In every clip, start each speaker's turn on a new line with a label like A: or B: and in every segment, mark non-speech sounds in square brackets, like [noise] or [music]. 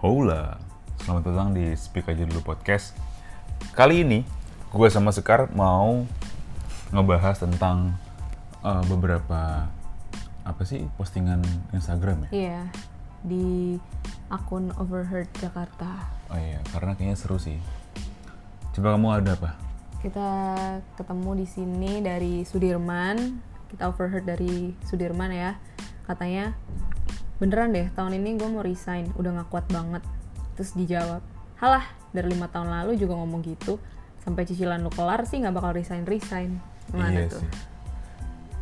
A: Hola, selamat datang di Speak Aja Dulu Podcast. Kali ini, gue sama Sekar mau ngebahas tentang eh, beberapa apa sih postingan Instagram ya?
B: Iya, di akun Overheard Jakarta.
A: Oh iya, karena kayaknya seru sih. Coba kamu ada apa?
B: Kita ketemu di sini dari Sudirman. Kita overheard dari Sudirman ya. Katanya, beneran deh tahun ini gue mau resign, udah gak kuat banget. Terus dijawab, halah dari lima tahun lalu juga ngomong gitu. Sampai cicilan lu kelar sih nggak bakal resign-resign.
A: iya
B: Gimana tuh?
A: sih.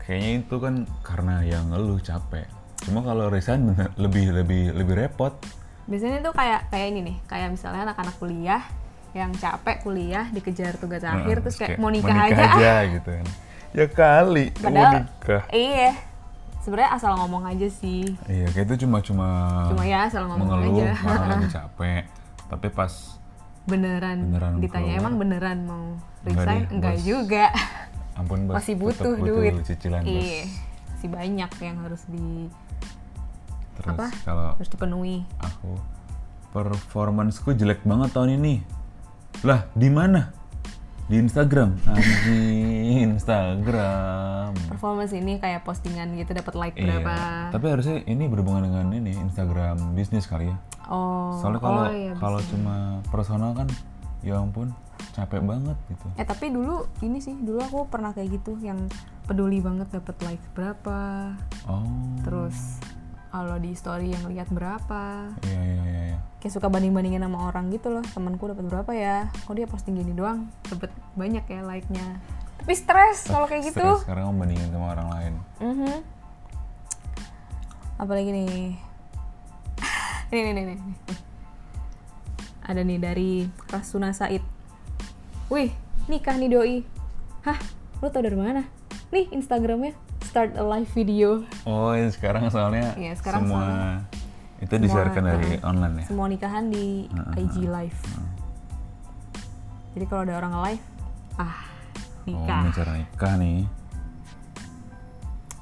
A: Kayaknya itu kan karena yang lu capek. Cuma kalau resign bener- lebih lebih lebih repot.
B: Biasanya tuh kayak kayak ini nih, kayak misalnya anak-anak kuliah yang capek kuliah dikejar tugas akhir
A: Heeh,
B: terus kayak
A: kayak,
B: mau nikah aja. ah."
A: gitu kan. Ya kali mau
B: Padahal
A: nikah.
B: iya. Sebenarnya asal ngomong aja sih.
A: Iya, kayak itu cuma cuma
B: Cuma ya asal ngomong
A: mengeluh
B: aja.
A: [laughs] karena
B: [laughs]
A: lagi capek. Tapi pas
B: Beneran,
A: Beneran
B: ditanya
A: keluar.
B: emang beneran mau
A: Enggak
B: resign?
A: deh,
B: Enggak
A: bos.
B: juga.
A: ampun bos,
B: Masih
A: tetep
B: butuh, duit.
A: cicilan bos.
B: Iya. Masih banyak yang harus di
A: Terus
B: Apa?
A: kalau
B: harus dipenuhi.
A: aku performanceku jelek banget tahun ini. Lah, di mana? Di Instagram. Anjing,
B: [laughs]
A: Instagram.
B: Performance ini kayak postingan gitu dapat like
A: Iya.
B: berapa.
A: Tapi harusnya ini berhubungan dengan ini Instagram bisnis kali ya.
B: Oh.
A: Soalnya kalau
B: oh iya,
A: kalau cuma personal kan ya ampun capek banget gitu.
B: Eh tapi dulu ini sih, dulu aku pernah kayak gitu yang peduli banget dapat like berapa,
A: Oh.
B: terus kalau di story yang lihat berapa.
A: Iya iya iya iya.
B: kayak suka banding-bandingin sama orang gitu loh temanku dapat berapa ya kok dia posting gini doang dapat banyak ya like-nya tapi stres kalau kayak gitu
A: Stres sekarang membandingin sama orang lain.
B: Mhm. apalagi nih [laughs] ini nih, nih nih nih. ada nih dari Rasuna Said wih nikah nih doi hah lo tau dari mana nih Instagramnya start a live video
A: Oh, iya, sekarang soalnya
B: Iya, sekarang
A: semua
B: soalnya
A: itu
B: semua-
A: disiarkan dari
B: Heeh.
A: online ya.
B: semua nikahan di IG live jadi kalau ada orang live ah
A: Oh,
B: nikah
A: bicara nikah nih.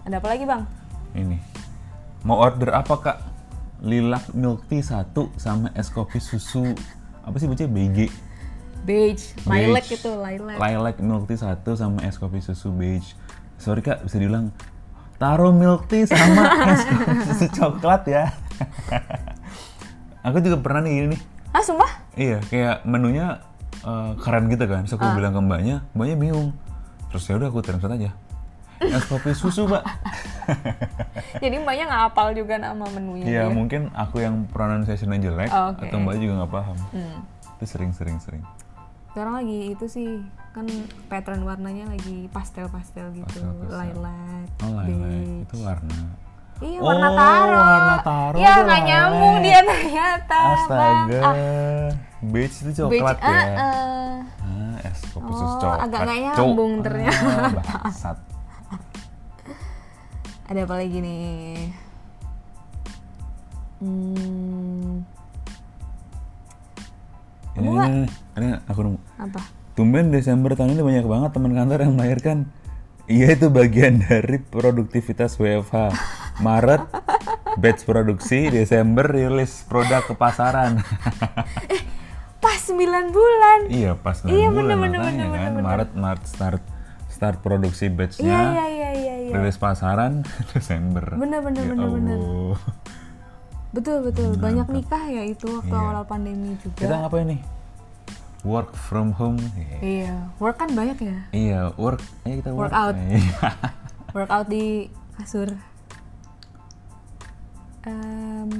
B: ada apa lagi bang
A: Ini. Mau order apa, Kak? Lilac milk tea satu sama es kopi susu apa sih bacanya BG?
B: beige lilac
A: Beige.
B: itu lilac
A: Lilac milk tea satu sama es kopi susu beige. Sorry Kak, bisa diulang. Taruh milk tea sama
B: [laughs]
A: es kopi susu coklat ya. Aku juga pernah nih ini nih.
B: ah sumpah [laughs]
A: Iya, kayak menunya eh, keren gitu kan. Terus aku
B: Ah.
A: bilang ke mbaknya, mbaknya bingung. Terus ya udah aku translate aja. Es kopi susu,
B: [laughs]
A: Mbak.
B: jadi mbaknya nggak hafal juga nama menunya
A: Iya,
B: dia.
A: mungkin aku yang pronunciation-nya jelek
B: Oh, oke.
A: atau mbaknya juga nggak paham.
B: Hmm.
A: Itu sering-sering sering.
B: sekarang lagi itu sih kan pattern warnanya lagi pastel-pastel gitu
A: Pastel-pastel.
B: lilac
A: Oh,
B: beige.
A: lain-lain. Itu warna.
B: iya warna
A: Oh,
B: taro
A: warna taro
B: ya
A: tuh
B: nggak
A: lilac.
B: nyambung dia ternyata Bang.
A: Astaga.
B: Ah,
A: Beige itu
B: beige
A: coklat
B: ah,
A: ya.
B: ah.
A: Ah, es kopi
B: Oh,
A: susu coklat.
B: agak nggak
A: Cuk.
B: nyambung
A: Ah,
B: ternyata.
A: bangsat.
B: Ada apa lagi nih? Hmm,
A: Ini, ini, ini, ini aku nemu.
B: apa?
A: Tumben Desember tahun ini banyak banget teman kantor yang melahirkan. Iya itu bagian dari produktivitas WFH. Maret batch produksi, Desember rilis produk ke pasaran. [laughs]
B: Pas 9 bulan.
A: iya pas
B: Iya,
A: enam bulan
B: bener, bener,
A: makanya
B: bener,
A: kan
B: bener.
A: Maret Maret start start produksi batchnya,
B: Iya iya iya iya. iya.
A: rilis pasaran [laughs] Desember.
B: Bener, bener, bener, bener.
A: Ya Allah.
B: Betul betul. Banyak nikah ya itu waktu awal pandemi
A: Iya. Kita
B: juga.
A: ngapain nih? Work from home. Iya.
B: Iya, work kan banyak ya.
A: Iya, work. Ayo kita work.
B: Workout.
A: Iya. [laughs]
B: Workout di kasur. Em,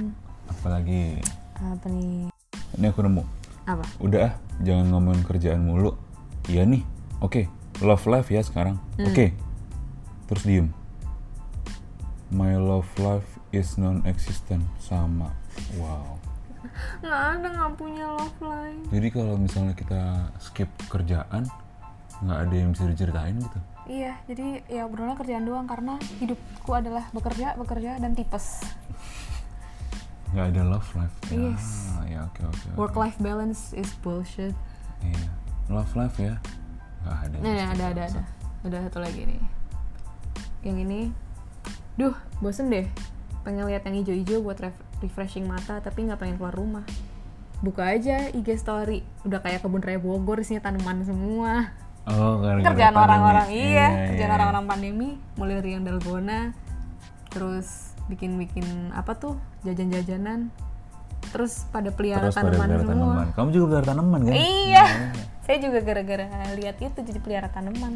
A: Apalagi
B: apa nih?
A: ini aku nemu.
B: Apa?
A: udah ah, jangan ngomongin kerjaan mulu iya nih oke love life ya sekarang
B: Hmm.
A: oke terus diem my love life is non existent sama wow
B: Nggak ada nggak punya love life.
A: jadi kalau misalnya kita skip kerjaan nggak ada yang bisa diceritain gitu
B: Iya, jadi ya obrolan kerjaan doang karena hidupku adalah bekerja, bekerja dan tipes.
A: nggak ada love life ya
B: Yes.
A: ya oke oke oke.
B: Work life balance is bullshit.
A: iya love life ya nggak ada
B: Nah, nah, ada ada ada. Ada satu lagi nih. Yang ini, duh, bosen deh. Pengen lihat yang ijo-ijo buat ref- refreshing mata, tapi nggak pengen keluar rumah. Buka aja IG story, udah kayak kebun raya Bogor isinya tanaman semua.
A: Oh, gara-gara
B: Kerjaan
A: pandemi.
B: orang-orang iya, kerjaan
A: iya.
B: orang-orang pandemi, mulai dari yang dalgona, terus bikin-bikin apa tuh jajan-jajanan, terus pada pelihara
A: Terus
B: tanaman
A: gara-gara
B: semua.
A: tanaman. Kamu juga pelihara tanaman kan?
B: Iya. Saya juga gara-gara lihat itu jadi pelihara tanaman.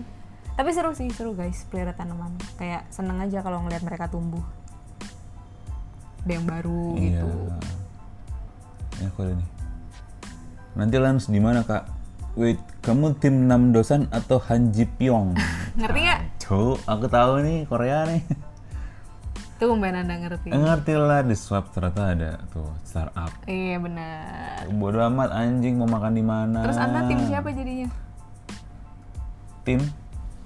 B: Tapi seru sih, seru guys pelihara tanaman. Kayak seneng aja kalau ngelihat mereka tumbuh. Ada yang baru
A: Iya.
B: gitu.
A: Ini Iya. Ya, aku ada nih. Nanti Lans di mana kak? Wait, kamu tim Nam Dosan atau Han Ji
B: [laughs]
A: Pyong?
B: Ngerti nggak?
A: Cuk, aku tahu nih Korea nih.
B: Tuh Mbak Nanda ngerti.
A: Ngerti lah di swap ternyata ada tuh startup.
B: Iya benar.
A: Bodoh amat anjing mau makan di mana?
B: Terus Anda tim
A: Ah.
B: siapa jadinya?
A: Tim,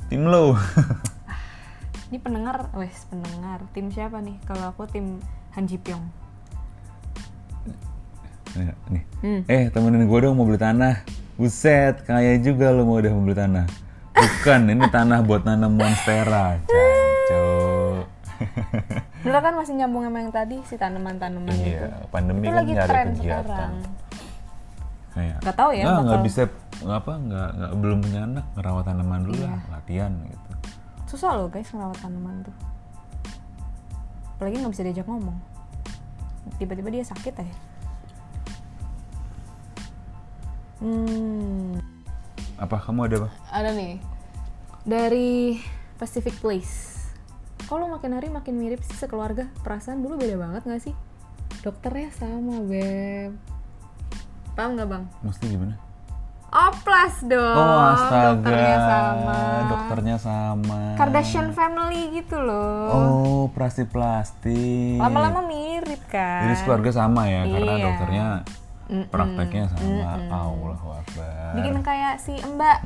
A: tim lo. [laughs]
B: Ini pendengar, wes pendengar. Tim siapa nih? Kalau aku tim Han Ji Pyong.
A: Nih, nih.
B: Hmm.
A: Eh temenin gue dong mau beli tanah. Buset, kaya juga lo mau udah mau beli tanah. Bukan, [laughs] ini tanah buat nanam monstera. Cuk.
B: Bener kan masih nyambung sama yang tadi si tanaman-tanaman itu.
A: Iya, pandemi kan
B: Itu lagi
A: nggak ada
B: tren
A: kegiatan.
B: sekarang.
A: Kayak
B: Nggak tahu ya
A: "Ah, nggak
B: bakal-
A: bisa nggak apa nggak nggak belum punya anak ngerawat tanaman dulu
B: Iya.
A: lah latihan gitu.
B: Susah loh guys ngerawat tanaman tuh. Apalagi nggak bisa diajak ngomong. Tiba-tiba dia sakit aja. Hmm,
A: Apa kamu ada apa?
B: ada nih dari Pacific Place. Kalau makin hari makin mirip sih sekeluarga. Perasaan dulu beda banget nggak sih? Dokternya sama beb. Paham nggak bang?
A: Mesti gimana?
B: Oplas dong.
A: Oh, astaga,
B: Dokternya sama.
A: Dokternya sama.
B: Kardashian family gitu loh.
A: Oh, iya. operasi plastik.
B: lama-lama mirip kan
A: Jadi keluarga sama ya, karena
B: Iya.
A: dokternya
B: Mm-mm.
A: prakteknya sama. Allah wabar.
B: bikin kayak si mbak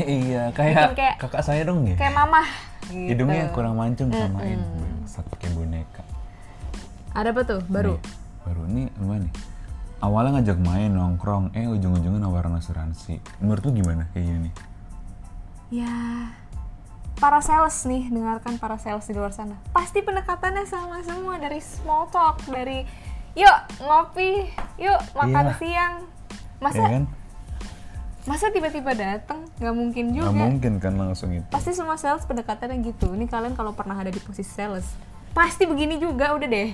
A: iya, kayak,
B: bikin kayak-
A: kakak saya dong ya.
B: kayak mamah gitu.
A: Hidungnya kurang mancung samain. Bangsat pakai boneka.
B: ada apa tuh baru
A: Nih, baru ini apa nih? Awalnya ngajak main nongkrong, eh ujung-ujungnya nawarin asuransi. Menurut lu gimana kayak gini? nih? Iya.
B: ya para sales nih dengarkan para sales di luar sana pasti pendekatannya sama semua dari small talk dari yuk ngopi yuk
A: Iya.
B: makan siang masa
A: Ya kan?
B: masa tiba-tiba dateng nggak mungkin
A: Gak
B: juga
A: mungkin kan langsung itu.
B: pasti semua sales pendekatannya gitu ini kalian kalau pernah ada di posisi sales pasti begini juga udah deh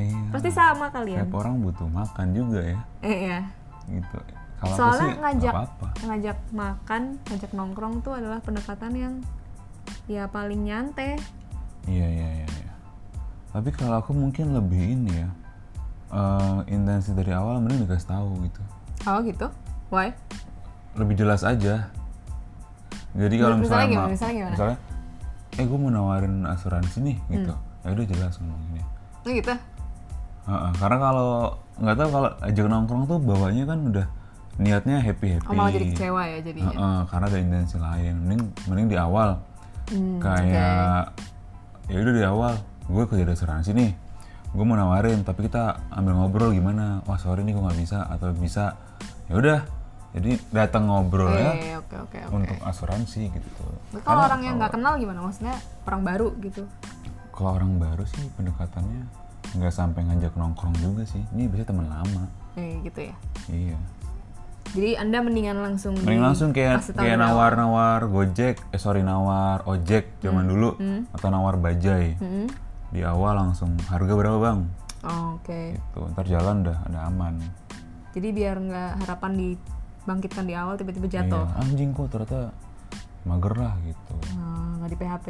A: Iya.
B: pasti sama kalian
A: Setiap orang butuh makan juga ya.
B: Eh, iya
A: Gitu. Kalau aku
B: soalnya
A: sih nggak
B: ngajak
A: apa-apa.
B: ngajak makan ngajak nongkrong tuh adalah pendekatan yang ya paling nyantai
A: Iya iya iya. iya. Tapi kalau aku mungkin lebih ini ya eh, intensi dari awal mending dikasih tahu gitu.
B: oh gitu why
A: Lebih jelas aja. Jadi kalau
B: Misalnya
A: misalnya
B: gimana?
A: ma-
B: Misalnya gimana? Hmm.
A: misalnya, eh gue mau nawarin asuransi nih gitu. Ya udah jelas ngomongnya.
B: oh gitu
A: Heeh, karena kalau nggak tahu kalau ajak nongkrong tuh bawanya kan udah niatnya happy happy.
B: oh malah jadi kecewa ya jadinya
A: Heeh, karena ada intensi lain. Mending mending di awal.
B: Hmm,
A: kayak ya udah di awal gue kerja di asuransi nih. Gue mau nawarin tapi kita ambil ngobrol gimana? Wah, sorry nih gue nggak bisa atau bisa. Ya udah. Jadi datang ngobrol
B: oke
A: ya
B: oke oke oke
A: untuk asuransi gitu.
B: kalau orang yang nggak kenal gimana maksudnya orang baru gitu
A: Kalau orang baru sih pendekatannya nggak sampai ngajak nongkrong juga sih. Ini biasanya teman lama.
B: eh, gitu ya
A: Iya.
B: jadi anda mendingan langsung
A: Mending
B: di-
A: langsung kayak
B: kasih tahu
A: kayak
B: dari awal.
A: nawar-nawar Gojek, eh sorry nawar ojek
B: Hmm.
A: zaman dulu atau nawar bajai.
B: Mm-mm.
A: Di awal langsung harga berapa, Bang?
B: Oh, oke
A: Gitu. Ntar jalan udah ada aman.
B: jadi biar nggak harapan dibangkitkan di awal tiba-tiba jatuh
A: Iya, anjing kok ternyata mager lah gitu.
B: Nah, nggak di PHP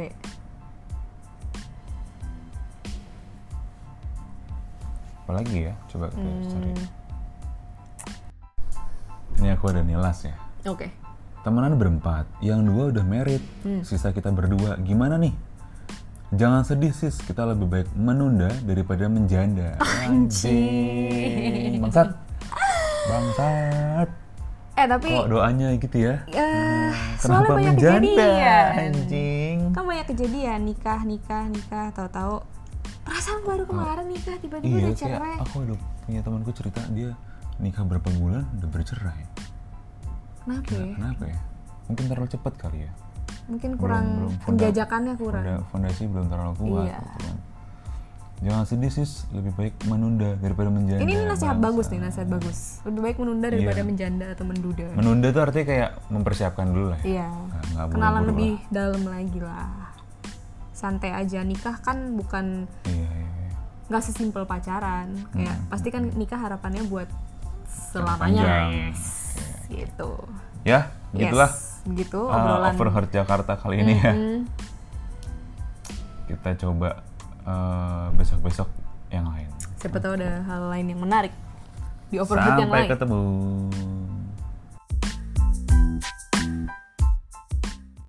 A: Apalagi ya? Coba kita
B: Hmm.
A: cari. Ini aku ada nilas ya.
B: oke
A: Temenan berempat, yang dua udah married,
B: Hmm.
A: sisa kita berdua. Gimana nih? Jangan sedih sis, kita lebih baik menunda daripada menjanda. Anjing. Bangsat. Bangsat.
B: eh tapi
A: Kok doanya gitu ya?
B: Ya, soalnya
A: Kenapa
B: banyak
A: menjanda?
B: kejadian.
A: Anjing.
B: Kan banyak kejadian nikah, nikah, nikah, tahu-tahu perasaan baru kemarin nikah tiba-tiba
A: Oh. Iya,
B: udah
A: kayak
B: cerai.
A: aku ada punya temanku cerita dia nikah berapa bulan udah bercerai.
B: Kenapa ya?
A: Kenapa ya? Mungkin terlalu cepat kali ya.
B: mungkin
A: Belum,
B: kurang
A: belum. Funda-
B: penjajakannya kurang
A: Fonda- fondasi belum terlalu kuat
B: Iya.
A: gitu kan. jangan sedih sis lebih baik menunda daripada menjanda
B: ini, ini nasihat
A: bangsa.
B: bagus nih nasihat bagus lebih baik menunda daripada
A: Iya.
B: menjanda atau menduda
A: menunda tuh artinya kayak mempersiapkan dulu lah ya
B: iya
A: Nggak- nggak
B: kenalan
A: buru-buru
B: lebih dalam lagi lah santai aja nikah kan bukan
A: iya iya, iya.
B: nggak sesimpel pacaran kayak
A: Hmm.
B: pasti kan nikah harapannya buat
A: Panjang. Iya.
B: selamanya yes. gitu
A: ya begitulah
B: yes. gitu
A: uh,
B: obrolan
A: overheard Jakarta kali ini ya kita coba uh, besok-besok yang lain
B: siapa tahu ada hal lain yang menarik di overhead yang
A: sampai
B: lain
A: ketemu